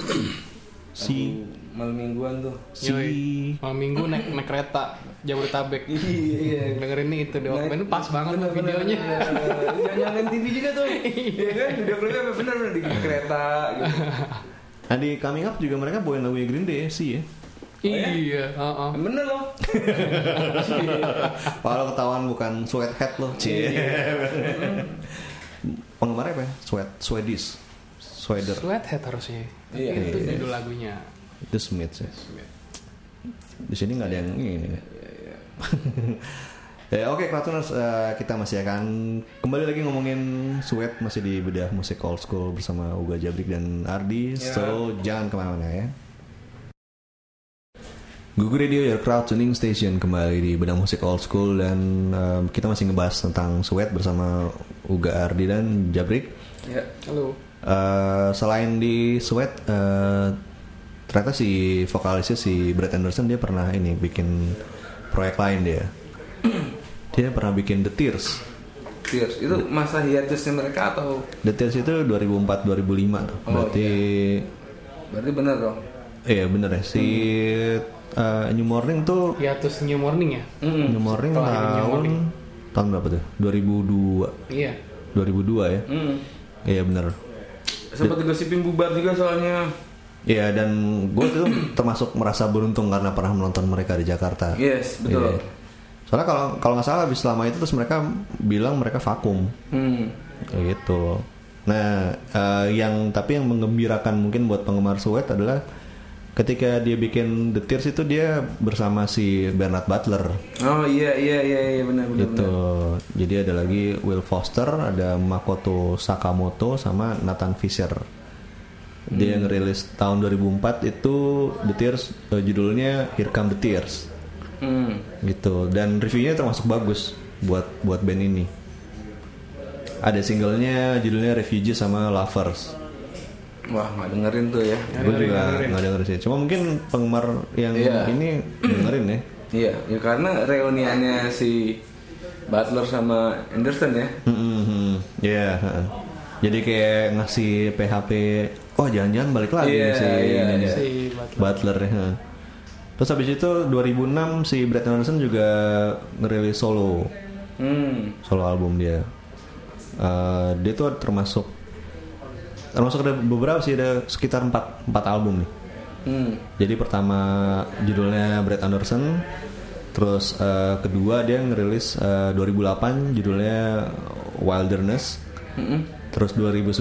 [SPEAKER 3] si
[SPEAKER 4] Lagu malam mingguan tuh.
[SPEAKER 3] si
[SPEAKER 5] Yoi. Malam minggu naik naik kereta Jabodetabek.
[SPEAKER 4] Iya.
[SPEAKER 5] Dengerin nih itu di Walkman pas banget tuh
[SPEAKER 4] bener,
[SPEAKER 5] videonya.
[SPEAKER 4] bener, bener. Yang nyalain TV juga tuh. Iya kan? Video klipnya bener bener di kereta gitu.
[SPEAKER 3] Nah di Coming Up juga mereka bawain lagunya Green Day ya, si ya.
[SPEAKER 5] Iya, heeh.
[SPEAKER 4] Bener loh.
[SPEAKER 3] Kalau ketahuan bukan sweathead loh, cie.
[SPEAKER 5] Iya.
[SPEAKER 3] Penggemarnya apa ya? Sweat, Swedish, Sweder,
[SPEAKER 5] Sweathead harusnya.
[SPEAKER 4] Iya.
[SPEAKER 5] Itu
[SPEAKER 3] Iya.
[SPEAKER 5] judul lagunya.
[SPEAKER 3] The Smiths ya. Di sini nggak ada yang ini. nih. ya oke Kratuners eh, kita masih akan kembali lagi ngomongin sweat masih di bedah musik old school bersama Uga Jabrik dan Ardi so jangan kemana-mana ya Google Radio Your Crowd Tuning Station kembali di bedah musik old school dan eh, kita masih ngebahas tentang sweat bersama Uga Ardi dan Jabrik
[SPEAKER 4] Ya.
[SPEAKER 5] Halo.
[SPEAKER 3] Eh, selain di Sweat, eh, ternyata si vokalisnya si Brad Anderson dia pernah ini bikin proyek lain dia. dia pernah bikin The Tears.
[SPEAKER 4] Tears. Itu masa hiatusnya mereka atau
[SPEAKER 3] The Tears itu 2004-2005 tuh.
[SPEAKER 4] Oh,
[SPEAKER 3] Berarti
[SPEAKER 4] berarti bener dong?
[SPEAKER 3] iya bener ya si eh, New Morning tuh
[SPEAKER 5] Hiatus New Morning ya?
[SPEAKER 4] Hmm.
[SPEAKER 3] New Morning
[SPEAKER 5] Setelah
[SPEAKER 3] tahun
[SPEAKER 5] New Morning.
[SPEAKER 3] tahun berapa tuh? 2002.
[SPEAKER 5] Iya.
[SPEAKER 3] 2002 ya.
[SPEAKER 4] Hmm.
[SPEAKER 3] Iya bener.
[SPEAKER 4] Sempat digosipin bubar juga soalnya.
[SPEAKER 3] Iya dan gue tuh termasuk merasa beruntung karena pernah menonton mereka di Jakarta.
[SPEAKER 4] Yes, betul.
[SPEAKER 3] Iya. Soalnya kalau kalau nggak salah habis selama itu terus mereka bilang mereka vakum
[SPEAKER 4] Hmm.
[SPEAKER 3] Kayak gitu. Nah, eh, yang tapi yang menggembirakan mungkin buat penggemar Sweat adalah ketika dia bikin The Tears itu dia bersama si Bernard Butler
[SPEAKER 4] Oh iya iya iya iya benar benar.
[SPEAKER 3] gitu. Jadi ada lagi Will Foster, ada Makoto Sakamoto sama Nathan Fisher. Dia
[SPEAKER 4] Hmm.
[SPEAKER 3] yang rilis tahun 2004 itu The Tears eh, judulnya Here Come The Tears
[SPEAKER 4] benar. Hmm.
[SPEAKER 3] gitu dan reviewnya termasuk bagus buat buat band ini ada singlenya judulnya Refugee sama Lovers
[SPEAKER 4] Wah, nggak dengerin tuh ya.
[SPEAKER 3] gue juga nggak denger sih cuma mungkin penggemar yang
[SPEAKER 4] Iya.
[SPEAKER 3] ini dengerin ya
[SPEAKER 4] Iya, ya karena reuniannya si Butler sama Anderson ya.
[SPEAKER 3] Mm-mm-mm. Iya, heeh. jadi kayak ngasih PHP oh jangan-jangan balik lagi
[SPEAKER 4] Iya,
[SPEAKER 3] nih si
[SPEAKER 4] iya,
[SPEAKER 3] ini nih,
[SPEAKER 4] iya.
[SPEAKER 3] si
[SPEAKER 5] Si Butler.
[SPEAKER 3] Butler ya, heeh. terus habis itu 2006 si Brad Anderson juga ngerilis solo
[SPEAKER 4] Hmm.
[SPEAKER 3] solo album dia. Eh, dia tuh termasuk termasuk ada beberapa sih ada sekitar 4 empat album nih.
[SPEAKER 4] Hmm.
[SPEAKER 3] Jadi pertama judulnya Brad Anderson, terus eh, kedua dia ngerilis eh, 2008 judulnya Wilderness,
[SPEAKER 4] Hmm.
[SPEAKER 3] terus 2009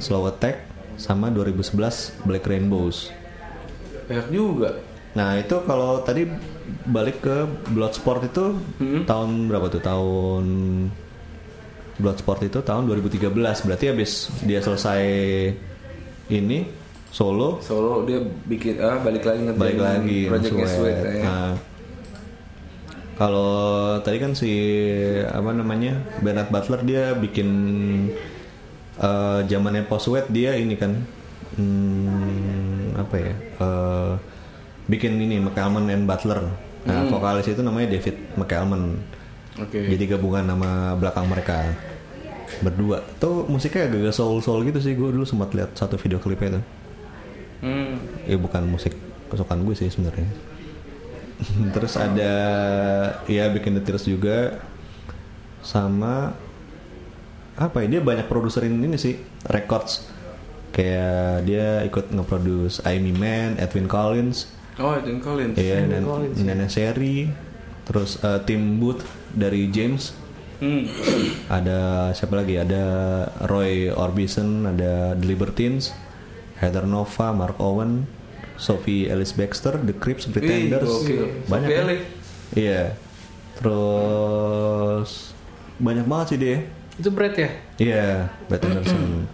[SPEAKER 3] Slow Attack sama 2011 Black Rainbows.
[SPEAKER 4] Banyak juga.
[SPEAKER 3] Nah itu kalau tadi balik ke Bloodsport itu tahun berapa tuh? Tahun Bloodsport itu tahun 2013 berarti habis dia selesai ini solo
[SPEAKER 4] Solo dia bikin ah balik lagi Nah. ngerjain ya.
[SPEAKER 3] balik lagi
[SPEAKER 4] projectnya
[SPEAKER 3] langsung
[SPEAKER 4] Sweet
[SPEAKER 3] wet.
[SPEAKER 4] ya.
[SPEAKER 3] Nah, Kalau tadi kan si apa namanya Bernard Butler dia bikin eh, zamannya post-wet dia ini kan hmm, apa ya eh, bikin ini McAlmon and Butler. Nah, vokalis itu namanya David McAlmon.
[SPEAKER 4] Hmm. Oke.
[SPEAKER 3] Jadi gabungan nama belakang mereka berdua. Tuh musiknya agak soul soul gitu sih. Gue dulu sempat lihat satu video klipnya itu.
[SPEAKER 4] Hmm.
[SPEAKER 3] Ya bukan musik kesukaan gue sih sebenarnya. Terus ada ya bikin the Tears juga sama apa ya dia banyak produserin ini sih records kayak dia ikut nge-produce Amy Man, Edwin Collins,
[SPEAKER 4] Oh, Edwin Collins.
[SPEAKER 3] Iya, dan Nene Seri, terus eh, Tim Booth dari James,
[SPEAKER 4] Hmm.
[SPEAKER 3] ada siapa lagi? Ada Roy Orbison, ada The Libertines, Heather Nova, Mark Owen, Sophie Ellis Baxter, The Crips, Pretenders,
[SPEAKER 4] gokil.
[SPEAKER 3] banyak.
[SPEAKER 4] Sophie
[SPEAKER 3] ya?
[SPEAKER 4] Ellis.
[SPEAKER 3] Iya, terus banyak banget sih dia.
[SPEAKER 5] Itu Brett ya?
[SPEAKER 3] Iya, Brett Anderson.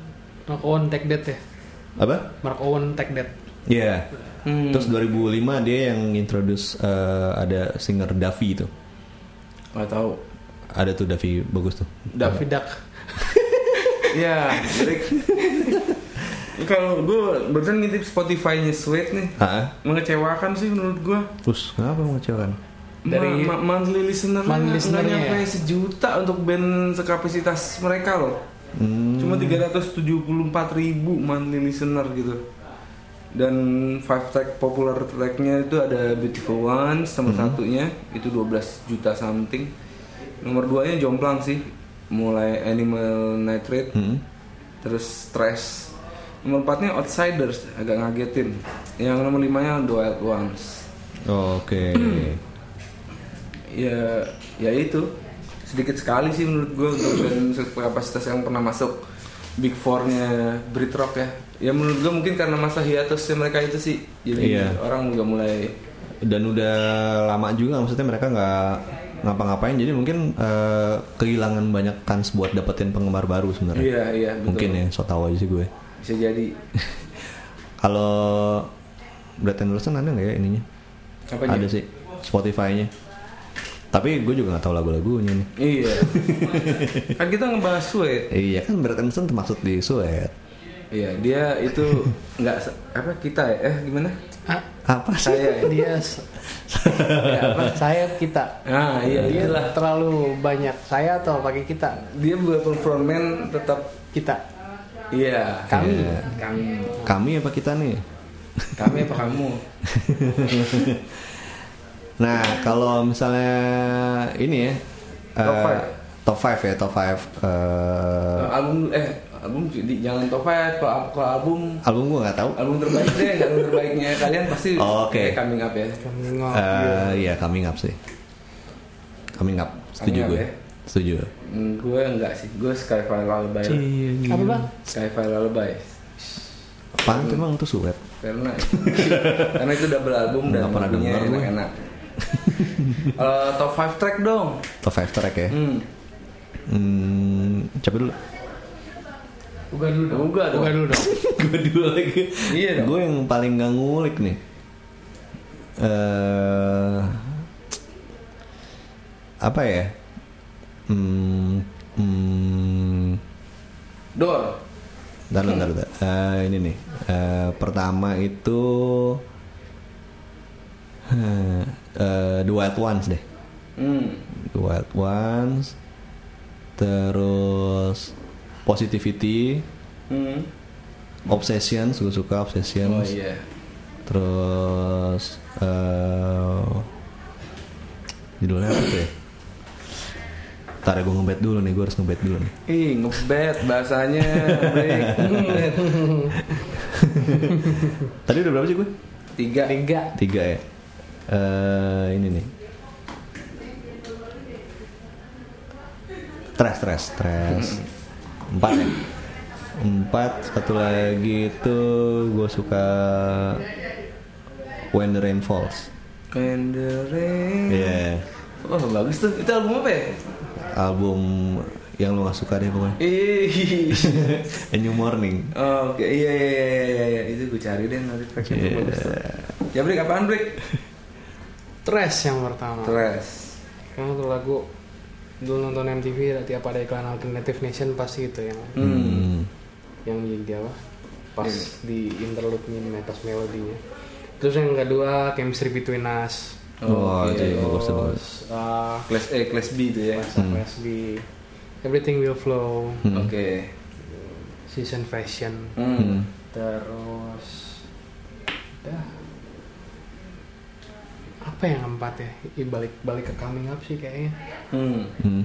[SPEAKER 5] Mark Owen Take That ya?
[SPEAKER 3] Apa?
[SPEAKER 5] Mark Owen Take That.
[SPEAKER 3] Iya.
[SPEAKER 4] Hmm.
[SPEAKER 3] Terus 2005 dia yang introduce eh, ada singer Davi itu.
[SPEAKER 4] Gak tahu.
[SPEAKER 3] Ada tuh Davi bagus tuh.
[SPEAKER 4] David.
[SPEAKER 5] Vidak.
[SPEAKER 4] Iya, jadi kalau gue barusan ngintip Spotify-nya Sweet nih.
[SPEAKER 3] Hah?
[SPEAKER 4] Mengecewakan sih menurut gue.
[SPEAKER 3] Terus kenapa mengecewakan?
[SPEAKER 4] Dari
[SPEAKER 5] Dari-
[SPEAKER 4] ma monthly listener
[SPEAKER 5] Monthly
[SPEAKER 4] nggak
[SPEAKER 5] listener-nya
[SPEAKER 4] nyampe
[SPEAKER 5] ya?
[SPEAKER 4] sejuta untuk band sekapasitas mereka loh.
[SPEAKER 3] Hmm,
[SPEAKER 4] Cuma 374 ribu monthly listener gitu. Dan five track popular tracknya itu ada Beautiful Ones nomor
[SPEAKER 5] Hmm.
[SPEAKER 4] satunya itu 12 juta something. Nomor duanya jomplang sih. Mulai Animal Nitrate,
[SPEAKER 3] hmm.
[SPEAKER 4] terus Stress. Nomor empatnya Outsiders agak ngagetin. Yang nomor limanya The Wild Ones.
[SPEAKER 3] Oh, Oke.
[SPEAKER 4] ya ya itu sedikit sekali sih menurut gue untuk band kapasitas yang pernah masuk big four-nya Brit Rock ya ya menurut gue mungkin karena masa hiatusnya mereka itu sih jadi
[SPEAKER 3] Iya.
[SPEAKER 4] orang juga mulai
[SPEAKER 3] Dan udah lama juga maksudnya mereka nggak ngapa-ngapain jadi mungkin eh, kehilangan banyak kans buat dapetin penggemar baru sebenarnya.
[SPEAKER 4] iya iya betul.
[SPEAKER 3] mungkin ya, so tau aja sih gue.
[SPEAKER 4] bisa jadi
[SPEAKER 3] Kalau Brett Anderson ada nggak ya ininya?
[SPEAKER 4] Apanya?
[SPEAKER 3] Ada sih Spotify-nya. Tapi gue juga nggak tahu lagu-lagunya nih.
[SPEAKER 4] iya kan kita ngebahas Sweet
[SPEAKER 3] Iya kan Brett Anderson termasuk di Suet.
[SPEAKER 4] iya dia itu nggak se- apa kita ya eh gimana
[SPEAKER 5] Ah,
[SPEAKER 3] Apa sih?
[SPEAKER 4] saya ya?
[SPEAKER 5] dia s- Ya, saya kita.
[SPEAKER 4] ah iya
[SPEAKER 5] Dia
[SPEAKER 4] iyalah
[SPEAKER 5] terlalu banyak saya atau pakai kita?
[SPEAKER 4] dia buat performan tetap
[SPEAKER 5] Kita.
[SPEAKER 4] iya
[SPEAKER 5] Kami.
[SPEAKER 3] Iya.
[SPEAKER 4] kami
[SPEAKER 3] Kami apa kita nih?
[SPEAKER 4] kami apa kamu
[SPEAKER 3] Nah, kalau misalnya ini ya.
[SPEAKER 4] Top
[SPEAKER 3] eh,
[SPEAKER 4] five.
[SPEAKER 3] Top 5 ya, top 5.
[SPEAKER 4] Kalau album eh album di, jangan top 5 kalau kalau album
[SPEAKER 3] album gue nggak tahu.
[SPEAKER 4] album terbaik deh album terbaiknya kalian pasti
[SPEAKER 3] Oke.
[SPEAKER 4] kayak coming up ya
[SPEAKER 5] Kami
[SPEAKER 3] Eh,
[SPEAKER 5] ngomong.
[SPEAKER 3] Iya, coming up sih. Coming up, setuju
[SPEAKER 4] Coming up
[SPEAKER 3] gue.
[SPEAKER 4] ya.
[SPEAKER 3] Setuju.
[SPEAKER 4] hmm, gue enggak sih gue skyfire lullaby lah.
[SPEAKER 5] Apa bang?
[SPEAKER 4] skyfire lullaby
[SPEAKER 3] Apaan tuh emang tuh suet?
[SPEAKER 4] karena karena itu double album dan
[SPEAKER 3] Nggak pernah
[SPEAKER 4] lagunya
[SPEAKER 3] denger gue.
[SPEAKER 4] enak-enak Kalau top 5 track dong
[SPEAKER 3] Top 5 track ya.
[SPEAKER 4] hmm.
[SPEAKER 3] Hmm, coba dulu.
[SPEAKER 5] Buka dulu dong.
[SPEAKER 4] Buka dong.
[SPEAKER 5] Buka dulu dong.
[SPEAKER 3] gue dulu lagi.
[SPEAKER 4] Iya dong.
[SPEAKER 3] Gue yang paling gak ngulik nih. eh apa ya? Hmm, hmm,
[SPEAKER 4] door
[SPEAKER 3] Bentar, bentar, bentar. Eh, ini nih. Eh, pertama itu eh, eh, The Wild Ones deh.
[SPEAKER 4] hmm.
[SPEAKER 3] The Wild Ones. Terus Positivity,
[SPEAKER 4] Hmm.
[SPEAKER 3] Obsession, suka-suka Obsession.
[SPEAKER 4] oh iya
[SPEAKER 3] Terus eh judulnya apa tuh ya? Ntar ya gue ngebet dulu nih, gue harus ngebet dulu nih.
[SPEAKER 4] Ih, ngebet bahasanya. Break. Hmm.
[SPEAKER 3] Tadi udah berapa sih gue?
[SPEAKER 4] Tiga.
[SPEAKER 5] Tiga.
[SPEAKER 3] Tiga ya. Eh ini nih. Stress, stress, stress. Empat ya. Empat. Satu lagi itu gue suka When the Rain Falls.
[SPEAKER 4] When the rain
[SPEAKER 3] Iya.
[SPEAKER 4] Oh bagus tuh, itu album apa ya?
[SPEAKER 3] Album yang lo gak suka deh pokoknya.
[SPEAKER 4] Ih.
[SPEAKER 3] A New Morning.
[SPEAKER 4] Oh, Oke, iya iya iya iya iya itu gue cari deh nanti tracknya tuh
[SPEAKER 3] Iya.
[SPEAKER 4] bagus tuh. Ya break apaan break?
[SPEAKER 5] Tres yang pertama.
[SPEAKER 4] Stress.
[SPEAKER 6] sekarang tuh lagu dulu nonton MTV tiap ada iklan alternative nation pasti itu yang
[SPEAKER 4] Mm.
[SPEAKER 3] Hmm.
[SPEAKER 6] yang di apa pas
[SPEAKER 3] Iya.
[SPEAKER 6] di interlude nya pas melodinya terus yang kedua chemistry between us
[SPEAKER 3] Oh, itu ya, bagus bagus.
[SPEAKER 6] terus uh,
[SPEAKER 4] Class A, Class B itu ya.
[SPEAKER 6] bahasa USB, everything will flow
[SPEAKER 3] Hmm.
[SPEAKER 4] Oke.
[SPEAKER 6] season fashion
[SPEAKER 4] Hmm.
[SPEAKER 6] terus udah apa yang keempat ya Ih, balik balik ke coming up sih kayaknya
[SPEAKER 4] Hmm.
[SPEAKER 3] Hmm.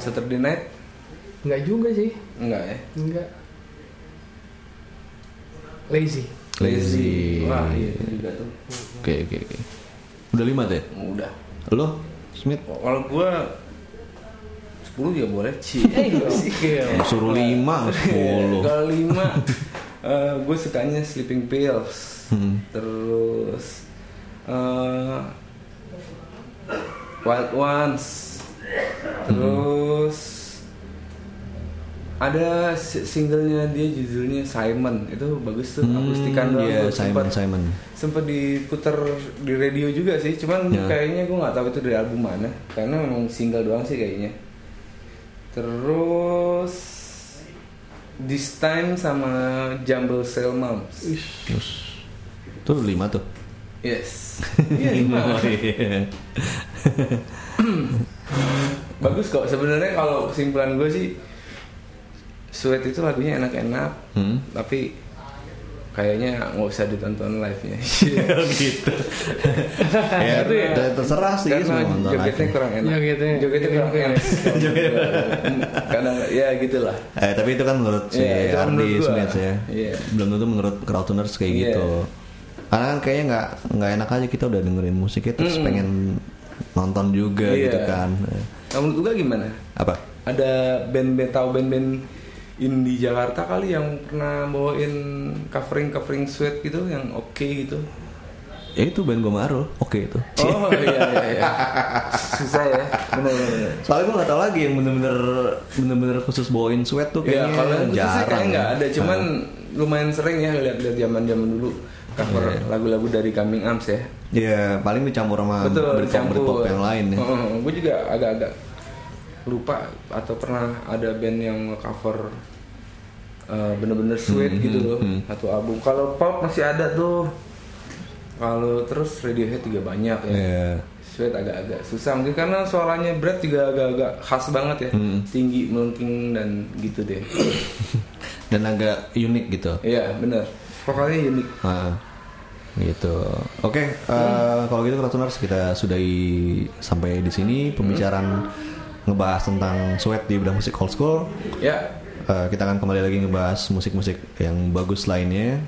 [SPEAKER 4] Saturday Night
[SPEAKER 6] nggak juga sih
[SPEAKER 4] enggak ya?
[SPEAKER 6] nggak lazy
[SPEAKER 3] Lazy.
[SPEAKER 4] Wah, iya itu juga tuh.
[SPEAKER 3] Oke oke oke. Udah lima teh.
[SPEAKER 4] Udah.
[SPEAKER 3] Lo Smith
[SPEAKER 4] Kalau gua 10 juga boleh. Ci. Iya.
[SPEAKER 3] suruh lima sepuluh.
[SPEAKER 4] Kalau lima, gue sukanya Sleeping Pills.
[SPEAKER 3] Hmm.
[SPEAKER 4] Terus eh, Wild Ones. Terus ada si- singlenya dia judulnya Simon itu bagus tuh akustikan doang
[SPEAKER 3] Iya
[SPEAKER 4] tuh,
[SPEAKER 3] Simon
[SPEAKER 4] sempat-
[SPEAKER 3] Simon.
[SPEAKER 4] sempet diputer di radio juga sih cuman
[SPEAKER 3] Ya.
[SPEAKER 4] kayaknya gue nggak tahu itu dari album mana karena memang single doang sih kayaknya terus this time sama jumble cell moms
[SPEAKER 3] Terus tuh lima tuh.
[SPEAKER 4] yes Iya, lima.
[SPEAKER 3] Iya.
[SPEAKER 4] bagus kok sebenarnya kalau kesimpulan gue sih sweat itu lagunya enak-enak
[SPEAKER 3] Hmm.
[SPEAKER 4] tapi kayaknya nggak usah ditonton live nya
[SPEAKER 3] gitu. ya,
[SPEAKER 4] Itu ya.
[SPEAKER 3] ter- terserah sih
[SPEAKER 4] karena
[SPEAKER 3] semua nonton
[SPEAKER 4] jogetnya
[SPEAKER 3] live-nya.
[SPEAKER 4] kurang enak
[SPEAKER 6] Jogetnya-
[SPEAKER 4] jogetnya kurang enak karena ya gitulah
[SPEAKER 3] Eh, tapi itu kan menurut si
[SPEAKER 4] Iya, itu kan
[SPEAKER 3] Ardi
[SPEAKER 4] menurut gua.
[SPEAKER 3] Smith ya.
[SPEAKER 4] Iya.
[SPEAKER 3] Belum tentu menurut crowdtuners kayak
[SPEAKER 4] Iya.
[SPEAKER 3] gitu. Karena kan kayaknya nggak nggak enak aja kita udah dengerin musiknya terus pengen nonton juga
[SPEAKER 4] Iya.
[SPEAKER 3] gitu kan. Eh,
[SPEAKER 4] Nah, menurut lu gimana?
[SPEAKER 3] Apa?
[SPEAKER 4] Ada band-band tahu band-band indie Jakarta kali yang pernah bawain covering covering sweat gitu yang oke gitu.
[SPEAKER 3] Ya itu band gue Marul. Oke itu.
[SPEAKER 4] Oh iya iya iya. Susah ya. Benar benar. benar.
[SPEAKER 3] Soalnya gue nggak tahu lagi yang bener-bener bener-bener khusus bawain sweat tuh
[SPEAKER 4] Ya
[SPEAKER 3] kayaknya
[SPEAKER 4] kalau yang khususnya
[SPEAKER 3] jarang.
[SPEAKER 4] kayak nggak ada,
[SPEAKER 3] ya.
[SPEAKER 4] cuman lumayan sering ya lihat-lihat zaman-zaman dulu cover lagu-lagu dari Coming Arms ya.
[SPEAKER 3] Ya paling dicampur sama
[SPEAKER 4] Betul,
[SPEAKER 3] Britpop Britpop
[SPEAKER 4] dicampur. Oh,
[SPEAKER 3] yang lain ya.
[SPEAKER 4] gue juga agak-agak lupa atau pernah ada band yang cover eh, bener-bener sweet
[SPEAKER 3] Hmm,
[SPEAKER 4] gitu loh satu album. Kalau pop masih ada tuh. Kalau terus Radiohead juga banyak ya.
[SPEAKER 3] Iya.
[SPEAKER 4] Sweet agak-agak susah mungkin karena suaranya Brad juga agak-agak khas banget ya.
[SPEAKER 3] Hmm.
[SPEAKER 4] Tinggi, melengking dan gitu deh.
[SPEAKER 3] Dan agak unik gitu.
[SPEAKER 4] Iya, bener. Vokalnya unik.
[SPEAKER 3] Ah, gitu. Oke, eh, kalau gitu Kratuners kita sudahi sampai di sini pembicaraan ngebahas tentang sweat di bidang musik old school.
[SPEAKER 4] Ya,
[SPEAKER 3] Eh, kita akan kembali lagi ngebahas musik-musik yang bagus lainnya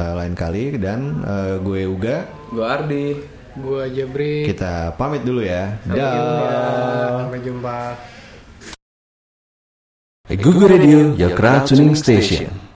[SPEAKER 3] eh, lain kali dan eh, gue Uga
[SPEAKER 4] gue Ardi.
[SPEAKER 6] gua Jabri
[SPEAKER 3] kita pamit dulu ya. Dah.
[SPEAKER 6] Iya, sampai jumpa
[SPEAKER 2] Google Radio, your crowd tuning station.